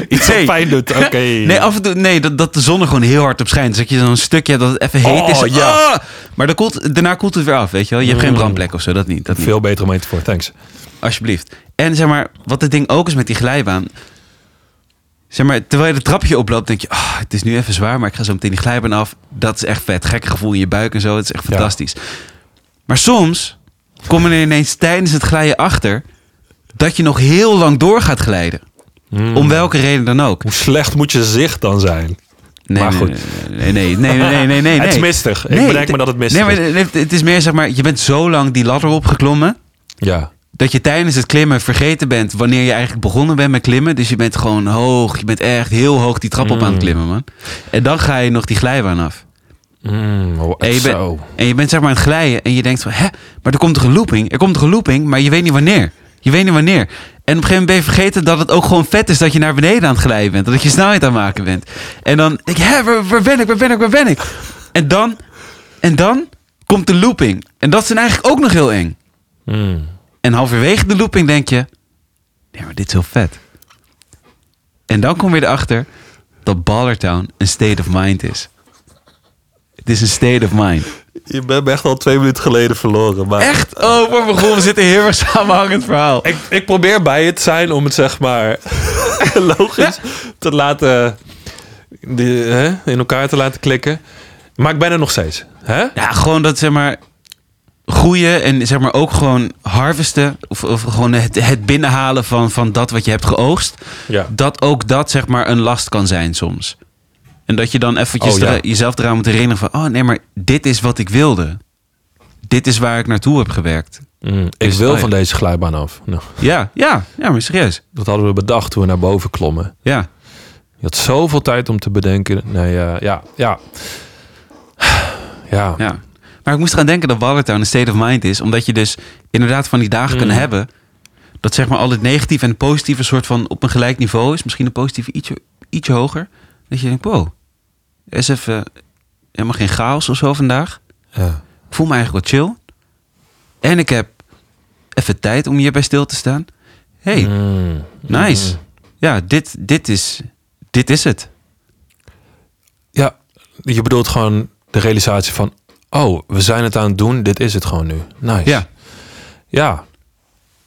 [SPEAKER 2] Iets
[SPEAKER 1] Nee.
[SPEAKER 2] wat pijn doet. Oké.
[SPEAKER 1] Nee, af en toe, nee dat, dat de zon er gewoon heel hard op schijnt. Dus dat je zo'n stukje hebt dat het even heet
[SPEAKER 2] Oh,
[SPEAKER 1] is.
[SPEAKER 2] ja. Mm.
[SPEAKER 1] Ah! maar dan koelt, daarna koelt het weer af, weet je wel. Je hebt geen brandplek of zo, dat niet. Dat niet.
[SPEAKER 2] Veel betere metafoor, thanks.
[SPEAKER 1] Alsjeblieft. En zeg maar, wat het ding ook is met die glijbaan. Zeg maar, terwijl je de trapje oploopt, denk je... ah, het is nu even zwaar, maar ik ga zo meteen die glijbaan af. Dat is echt vet. Gekke gevoel in je buik en zo. Het is echt
[SPEAKER 2] Ja.
[SPEAKER 1] fantastisch. Maar soms komen er ineens tijdens het glijden achter... dat je nog heel lang door gaat glijden.
[SPEAKER 2] Hmm.
[SPEAKER 1] Om welke reden dan ook.
[SPEAKER 2] Hoe slecht moet je zicht dan zijn?
[SPEAKER 1] Nee,
[SPEAKER 2] Maar
[SPEAKER 1] nee,
[SPEAKER 2] goed.
[SPEAKER 1] Nee, nee, nee, nee, nee, nee, nee.
[SPEAKER 2] Het is
[SPEAKER 1] nee.
[SPEAKER 2] mistig. Ik bedenk me dat het mistig
[SPEAKER 1] nee, maar het- Het is meer zeg maar, je bent zo lang die ladder opgeklommen...
[SPEAKER 2] Ja.
[SPEAKER 1] dat je tijdens het klimmen vergeten bent wanneer je eigenlijk begonnen bent met klimmen. Dus je bent gewoon hoog, je bent echt heel hoog die trap op aan het klimmen, man. En dan ga je nog die glijbaan af.
[SPEAKER 2] Mm, oh,
[SPEAKER 1] En je, bent-
[SPEAKER 2] zo.
[SPEAKER 1] en je bent zeg maar aan het glijden en je denkt van, hè, maar er komt toch een looping? Er komt toch een looping, maar je weet niet wanneer. Je weet niet wanneer. En op een gegeven moment ben je vergeten dat het ook gewoon vet is dat je naar beneden aan het glijden bent. Dat je snelheid aan het maken bent. En dan denk je, hè, waar, waar ben ik, waar ben ik, waar ben ik? En dan, en dan komt de looping. En dat is dan eigenlijk ook nog heel eng.
[SPEAKER 2] Mm.
[SPEAKER 1] En halverwege de looping denk je... Nee, maar dit is heel vet. En dan kom je erachter dat Ballertown een state of mind is. Het is een state of mind.
[SPEAKER 2] Je bent me echt al twee minuten geleden verloren. Maar
[SPEAKER 1] Echt? Oh, voor mijn gevoel, we zitten heel erg samenhangend verhaal.
[SPEAKER 2] Ik, ik probeer bij het zijn om het zeg maar logisch te laten... Die, hè, in elkaar te laten klikken. Maar ik ben er nog steeds. Hè?
[SPEAKER 1] Ja, gewoon dat, zeg maar, groeien en zeg maar ook gewoon harvesten... of, of gewoon het, het binnenhalen van, van dat wat je hebt geoogst...
[SPEAKER 2] Ja.
[SPEAKER 1] dat ook dat, zeg maar, een last kan zijn soms. En dat je dan eventjes
[SPEAKER 2] Oh, ja.
[SPEAKER 1] er- jezelf eraan moet herinneren van... oh nee, maar dit is wat ik wilde. Dit is waar ik naartoe heb gewerkt.
[SPEAKER 2] Mm, ik
[SPEAKER 1] Dus-
[SPEAKER 2] wil
[SPEAKER 1] oh, ja.
[SPEAKER 2] van deze glijbaan af. Nou,
[SPEAKER 1] Ja, ja, ja, maar serieus.
[SPEAKER 2] dat hadden we bedacht toen we naar boven klommen.
[SPEAKER 1] Ja.
[SPEAKER 2] Je had zoveel tijd om te bedenken. Nee, eh, ja, ja. Ja.
[SPEAKER 1] Ja. Maar ik moest gaan denken dat Wallertown een state of mind is. Omdat je dus inderdaad van die dagen
[SPEAKER 2] Mm.
[SPEAKER 1] kan hebben. Dat zeg maar al het negatieve en het positieve soort van op een gelijk niveau is. Misschien de positieve ietsje, ietsje hoger. Dat je denkt, wow, er is even helemaal geen chaos of zo vandaag.
[SPEAKER 2] ja.
[SPEAKER 1] Ik voel me eigenlijk wel chill. En ik heb even tijd om hierbij stil te staan. hey,
[SPEAKER 2] Mm.
[SPEAKER 1] nice. Ja, dit, dit, is, dit is het.
[SPEAKER 2] Ja, je bedoelt gewoon de realisatie van... oh, we zijn het aan het doen, dit is het gewoon nu. Nice.
[SPEAKER 1] Ja,
[SPEAKER 2] Ja.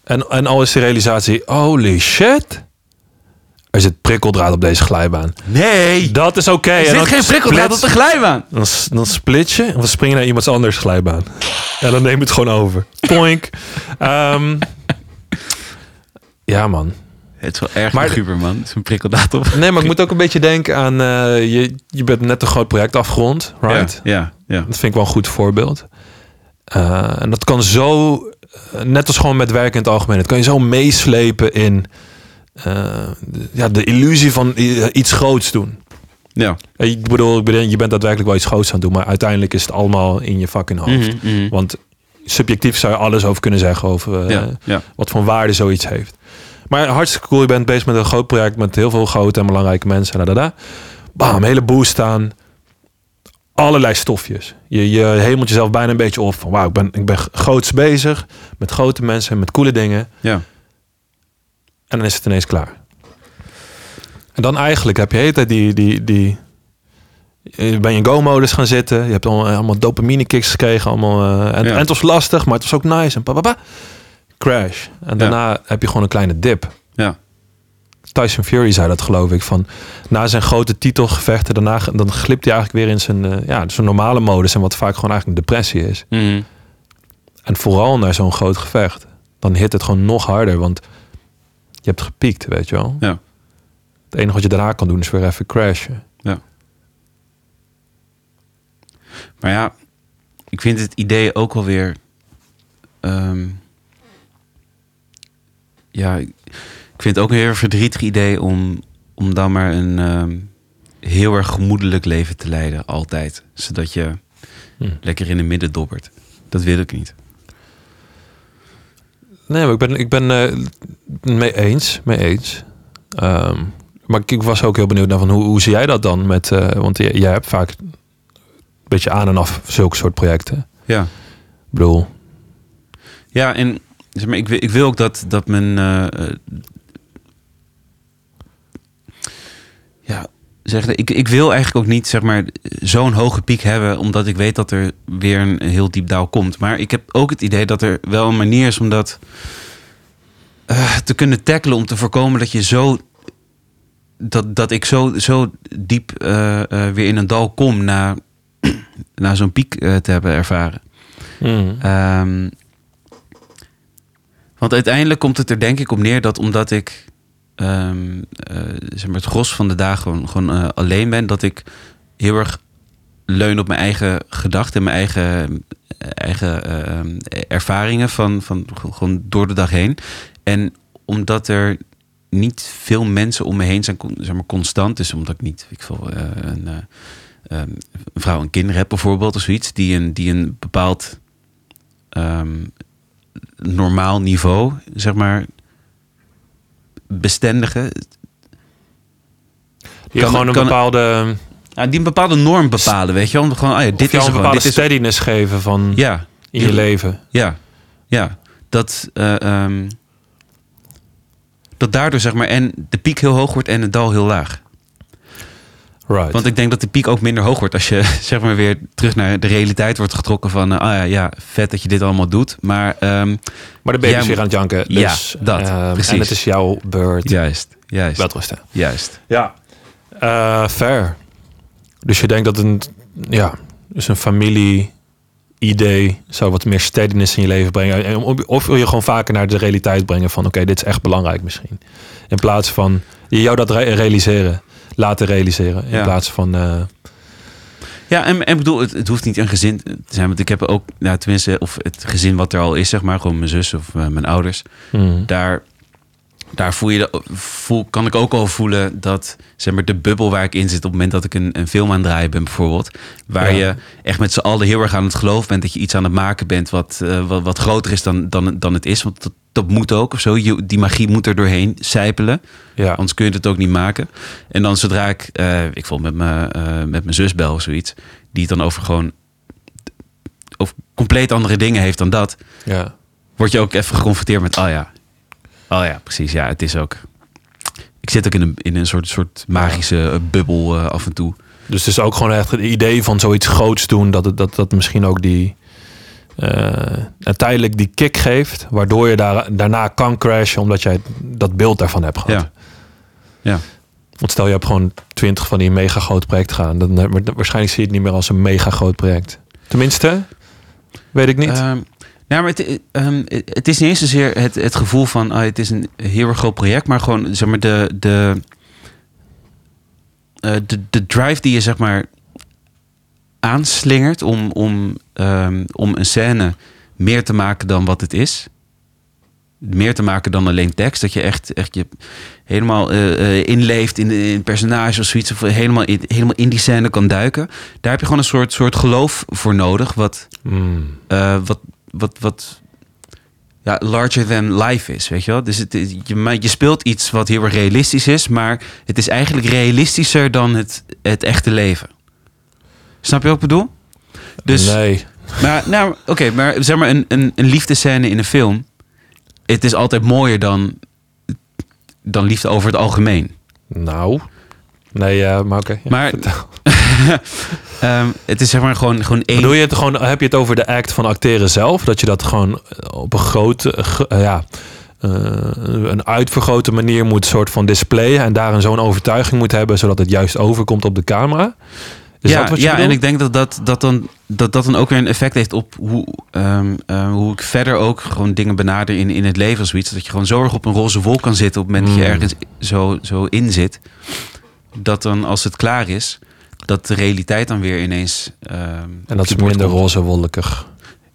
[SPEAKER 2] En, en al is de realisatie... holy shit, er zit prikkeldraad op deze glijbaan.
[SPEAKER 1] Nee!
[SPEAKER 2] Dat is oké.
[SPEAKER 1] Er
[SPEAKER 2] en
[SPEAKER 1] zit
[SPEAKER 2] dan
[SPEAKER 1] geen prikkeldraad op
[SPEAKER 2] splits-
[SPEAKER 1] de glijbaan.
[SPEAKER 2] Dan, s- dan split je en we springen naar iemands anders glijbaan. En dan neem je het gewoon over. Poink. Ehm, ja, man.
[SPEAKER 1] Het is wel erg
[SPEAKER 2] Maar-
[SPEAKER 1] luguber, man. Het is een prikkeldraad op.
[SPEAKER 2] Nee, maar ik moet ook een beetje denken aan... eh, je, je bent net een groot project afgerond, right?
[SPEAKER 1] Ja, ja, ja.
[SPEAKER 2] Dat vind ik wel een goed voorbeeld. Eh, en dat kan zo, eh, net als gewoon met werk in het algemeen, dat kan je zo meeslepen in eh, de- ja, de illusie van i- iets groots doen.
[SPEAKER 1] ja.
[SPEAKER 2] Eh, Ik bedoel, ik bedenk, je bent daadwerkelijk wel iets groots aan het doen, maar uiteindelijk is het allemaal in je fucking hoofd.
[SPEAKER 1] Mhm.
[SPEAKER 2] Want subjectief zou je alles over kunnen zeggen over eh,
[SPEAKER 1] Mm. ja, ja.
[SPEAKER 2] wat voor waarde zoiets heeft. Maar hartstikke cool, je bent bezig met een groot project met heel veel grote en belangrijke mensen. Da, da, da. Bam, hele boost aan. Allerlei stofjes. Je, je hemelt jezelf bijna een beetje op van wauw, ik ben, ik ben groots bezig met grote mensen, met coole dingen.
[SPEAKER 1] ja.
[SPEAKER 2] En dan is het ineens klaar. En dan eigenlijk heb je de hele tijd die... die, die eh, ben je in go-modus gaan zitten. Je hebt al- eh, allemaal dopamine kicks gekregen. Allemaal, eh, en,
[SPEAKER 1] Ja.
[SPEAKER 2] en het was lastig, maar het was ook nice. En pa, pa, pa. Crash. En daarna heb je gewoon een kleine dip.
[SPEAKER 1] Ja.
[SPEAKER 2] Tyson Fury zei dat geloof ik. Van, na zijn grote titelgevechten, daarna ge- dan glipt hij eigenlijk weer in zijn, eh, ja, zijn normale modus. En wat vaak gewoon eigenlijk een depressie is.
[SPEAKER 1] Mhm.
[SPEAKER 2] En vooral naar zo'n groot gevecht. Dan hit het gewoon nog harder. Want je hebt gepiekt, weet je wel.
[SPEAKER 1] Ja.
[SPEAKER 2] Het enige wat je daarna kan doen is weer even crashen.
[SPEAKER 1] Maar ja, ik vind het idee ook alweer... ehm ja, ik ik vind het ook een heel verdrietig idee om, om dan maar een ehm, heel erg gemoedelijk leven te leiden, altijd. Zodat je
[SPEAKER 2] Hm.
[SPEAKER 1] lekker in het midden dobbert. Dat wil ik niet.
[SPEAKER 2] Nee, maar ik ben, ik ben eh, mee eens. Mee eens. Ehm, maar ik, ik was ook heel benieuwd naar van hoe, hoe zie jij dat dan? Met, eh, want j- jij hebt vaak een beetje aan en af zulke soort projecten.
[SPEAKER 1] Ja.
[SPEAKER 2] Ik bedoel,
[SPEAKER 1] Ja, en zeg maar, ik, wi- ik wil ook dat, dat men. eh, eh, ja, zeg, ik, ik wil eigenlijk ook niet zeg maar, zo'n hoge piek hebben, omdat ik weet dat er weer een heel diep daal komt. Maar ik heb ook het idee dat er wel een manier is om dat eh, te kunnen tackelen, om te voorkomen dat je zo. Dat, dat ik zo, zo diep eh, eh, weer in een dal kom na, na zo'n piek eh, te hebben ervaren.
[SPEAKER 2] Mhm.
[SPEAKER 1] Ehm, want uiteindelijk komt het er denk ik op neer dat omdat ik ehm, eh, zeg maar het gros van de dagen gewoon, gewoon eh, alleen ben, dat ik heel erg leun op mijn eigen gedachten en mijn eigen, eh, eigen ehm, ervaringen van, van gewoon door de dag heen. En omdat er niet veel mensen om me heen zijn, con- zeg maar constant, dus omdat ik niet, ik veel, eh, een, eh, ehm, een vrouw en kinderen heb bijvoorbeeld of zoiets, die een, die een bepaald ehm, normaal niveau, zeg maar, bestendigen.
[SPEAKER 2] Je
[SPEAKER 1] Kan-
[SPEAKER 2] gewoon een
[SPEAKER 1] kan-
[SPEAKER 2] bepaalde...
[SPEAKER 1] Ja, die een bepaalde norm bepalen, weet je wel? Om gewoon, ah ja,
[SPEAKER 2] Dit
[SPEAKER 1] dit
[SPEAKER 2] je
[SPEAKER 1] is
[SPEAKER 2] al een
[SPEAKER 1] er gewoon,
[SPEAKER 2] bepaalde
[SPEAKER 1] dit is er-
[SPEAKER 2] steadiness geven van
[SPEAKER 1] Ja,
[SPEAKER 2] in je leven.
[SPEAKER 1] ja, ja. Dat, eh, ehm, dat daardoor, zeg maar, en de piek heel hoog wordt en het dal heel laag.
[SPEAKER 2] Right.
[SPEAKER 1] Want ik denk dat de piek ook minder hoog wordt als je, zeg maar, weer terug naar de realiteit wordt getrokken van, eh, ah ja, ja, vet dat je dit allemaal doet, maar... ehm,
[SPEAKER 2] maar de baby
[SPEAKER 1] Ja,
[SPEAKER 2] is weer aan het janken.
[SPEAKER 1] ja,
[SPEAKER 2] Dus,
[SPEAKER 1] dat,
[SPEAKER 2] ehm,
[SPEAKER 1] precies.
[SPEAKER 2] En het is jouw beurt.
[SPEAKER 1] juist, juist,
[SPEAKER 2] Welterusten.
[SPEAKER 1] juist.
[SPEAKER 2] Ja. Eh, fair. Dus je denkt dat een, ja, dus een familie-idee zou wat meer steadiness in je leven brengen. En om- Of wil je gewoon vaker naar de realiteit brengen van oké, dit is echt belangrijk misschien. In plaats van je jou dat re- realiseren, laten realiseren. In
[SPEAKER 1] Ja.
[SPEAKER 2] plaats van eh,
[SPEAKER 1] Ja, en, en bedoel, het, het hoeft niet een gezin te zijn. Want ik heb ook, nou, tenminste, of het gezin wat er al is, zeg maar, gewoon mijn zus of eh, mijn ouders.
[SPEAKER 2] hmm,
[SPEAKER 1] Daar, daar voel je de, voel, kan ik ook al voelen dat, zeg maar, de bubbel waar ik in zit op het moment dat ik een, een film aan het draaien ben, bijvoorbeeld. Waar
[SPEAKER 2] Ja.
[SPEAKER 1] je echt met z'n allen heel erg aan het geloof bent dat je iets aan het maken bent wat, eh, wat, wat groter is dan, dan, dan het is. Want dat, dat moet ook of zo. Je, die magie moet er doorheen sijpelen.
[SPEAKER 2] ja.
[SPEAKER 1] Anders kun je het ook niet maken. En dan zodra ik, eh, ik vond met mijn, eh, met mijn zus bel of zoiets, die het dan over gewoon of compleet andere dingen heeft dan dat,
[SPEAKER 2] ja.
[SPEAKER 1] word je ook even geconfronteerd met, oh ja, oh ja, precies, ja, het is ook. Ik zit ook in een, in een soort, soort magische eh, bubbel eh, af en toe.
[SPEAKER 2] Dus het is ook gewoon echt het idee van zoiets groots doen. Dat het- dat, dat misschien ook die eh, tijdelijk die kick geeft. Waardoor je daar, daarna kan crashen. Omdat jij dat beeld daarvan hebt gehad.
[SPEAKER 1] Ja. Ja.
[SPEAKER 2] Want stel je hebt gewoon twintig van die mega groot projecten gedaan. Dan, dan- waarschijnlijk zie je het niet meer als een mega groot project. Tenminste, weet ik niet.
[SPEAKER 1] Ehm, nou, maar het, ehm, het is niet eens zozeer het, het gevoel van ah, het is een heel erg groot project, maar gewoon zeg maar de, de, eh, de, de drive die je zeg maar aanslingert om, om, ehm, om een scène meer te maken dan wat het is. Meer te maken dan alleen tekst. Dat je echt, echt je helemaal eh, eh, inleeft in een personage of zoiets. Of helemaal in, helemaal in die scène kan duiken. Daar heb je gewoon een soort, soort geloof voor nodig. Wat,
[SPEAKER 2] Hmm.
[SPEAKER 1] eh, wat, wat, wat ja, larger than life is, weet je wel? Dus het, is- je, ma- je speelt iets wat heel erg realistisch is, maar het is eigenlijk realistischer dan het, het echte leven. Snap je wat ik bedoel? Dus,
[SPEAKER 2] nee.
[SPEAKER 1] maar, nou, oké, maar zeg maar een, een, een liefdescène in een film, het is altijd mooier dan, dan liefde over het algemeen.
[SPEAKER 2] Nou. Nee, ja, maar oké. ja.
[SPEAKER 1] Maar ehm, het is zeg maar gewoon, gewoon één
[SPEAKER 2] Bedoel je het gewoon, heb je het over de act van acteren zelf? Dat je dat gewoon op een grote, eh, gro- eh, ja, eh, een uitvergrote manier moet soort van displayen. En daarin zo'n overtuiging moet hebben, zodat het juist overkomt op de camera. Is Dus
[SPEAKER 1] ja,
[SPEAKER 2] dat wat je
[SPEAKER 1] ja
[SPEAKER 2] bedoelt?
[SPEAKER 1] en ik denk dat dat, dat, dan, dat dat dan ook weer een effect heeft op hoe, ehm, eh, hoe ik verder ook gewoon dingen benader in, in het leven of zoiets. Dat je gewoon zo erg op een roze wolk kan zitten op het moment dat je
[SPEAKER 2] Mm.
[SPEAKER 1] ergens zo, zo in zit. Dat dan als het klaar is, dat de realiteit dan weer ineens... ehm,
[SPEAKER 2] En
[SPEAKER 1] op
[SPEAKER 2] dat
[SPEAKER 1] je
[SPEAKER 2] is
[SPEAKER 1] bord
[SPEAKER 2] minder
[SPEAKER 1] komt.
[SPEAKER 2] roze wolkig.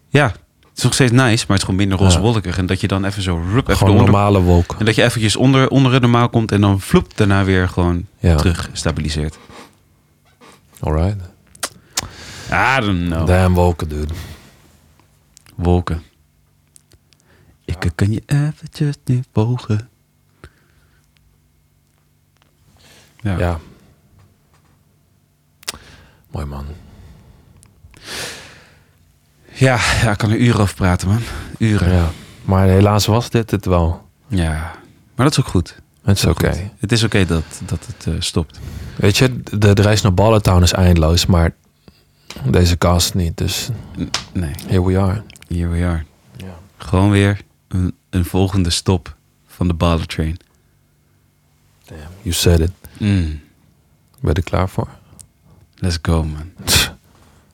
[SPEAKER 1] Ja, het is nog steeds nice, maar het is gewoon minder roze
[SPEAKER 2] Ja.
[SPEAKER 1] wolkig. En dat je dan even zo... Rup, even
[SPEAKER 2] Gewoon
[SPEAKER 1] onder,
[SPEAKER 2] normale wolk.
[SPEAKER 1] en dat je eventjes onder, onder het normaal komt en dan vloep daarna weer gewoon
[SPEAKER 2] Ja,
[SPEAKER 1] terug stabiliseert.
[SPEAKER 2] alright.
[SPEAKER 1] I don't know.
[SPEAKER 2] Damn wolken, dude.
[SPEAKER 1] Wolken. Ik kan je eventjes nu bogen. Ja.
[SPEAKER 2] Ja. Mooi man.
[SPEAKER 1] Ja, ja, ik kan er uren over praten, man. Uren. Ja.
[SPEAKER 2] Ja. Maar helaas was dit het wel.
[SPEAKER 1] Maar dat is ook goed.
[SPEAKER 2] Het is
[SPEAKER 1] Dat
[SPEAKER 2] oké.
[SPEAKER 1] is goed. Het is oké dat, dat het eh, stopt.
[SPEAKER 2] Weet je, de, de reis naar Ballentown is eindeloos, maar deze cast niet. Dus
[SPEAKER 1] Nee,
[SPEAKER 2] here we are.
[SPEAKER 1] here we are.
[SPEAKER 2] Ja.
[SPEAKER 1] Gewoon weer een, een volgende stop van de Baller Train.
[SPEAKER 2] You said it.
[SPEAKER 1] Mm,
[SPEAKER 2] Ben je er klaar voor?
[SPEAKER 1] let's go, man.
[SPEAKER 2] Tch.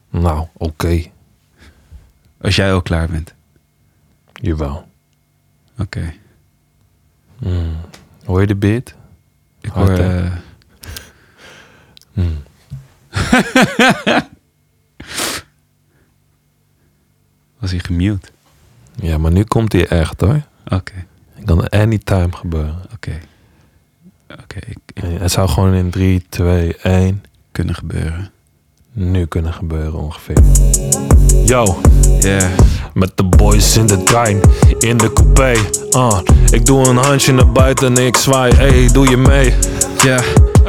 [SPEAKER 2] Nou, oké.
[SPEAKER 1] Als jij ook klaar bent.
[SPEAKER 2] Jawel.
[SPEAKER 1] Oké.
[SPEAKER 2] Mm. Hoor je de beat?
[SPEAKER 1] Ik
[SPEAKER 2] Hard,
[SPEAKER 1] hoor...
[SPEAKER 2] hè?
[SPEAKER 1] eh,
[SPEAKER 2] Mm.
[SPEAKER 1] was hij gemute?
[SPEAKER 2] Ja, maar nu komt hij echt hoor.
[SPEAKER 1] Oké,
[SPEAKER 2] Het kan anytime gebeuren.
[SPEAKER 1] oké. Oké, ik, ik
[SPEAKER 2] En Het zou gewoon in 3, 2, 1
[SPEAKER 1] kunnen gebeuren.
[SPEAKER 2] nu kunnen gebeuren ongeveer. Yo,
[SPEAKER 1] Ja.
[SPEAKER 2] met de boys in de trein, in de coupé. Ah, ik doe een handje naar buiten en ik zwaai. Hey, doe je mee?
[SPEAKER 1] Ja,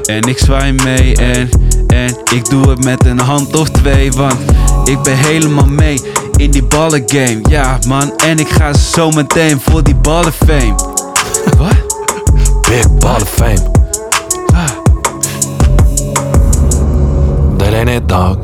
[SPEAKER 1] en ik zwaai mee en, en ik doe het met een hand of twee Want ik ben helemaal mee in die ballengame Ja man, en ik ga zo meteen voor die ballenfame Wat?
[SPEAKER 2] Big ball of fame.
[SPEAKER 1] Ah,
[SPEAKER 2] That ain't it, dog.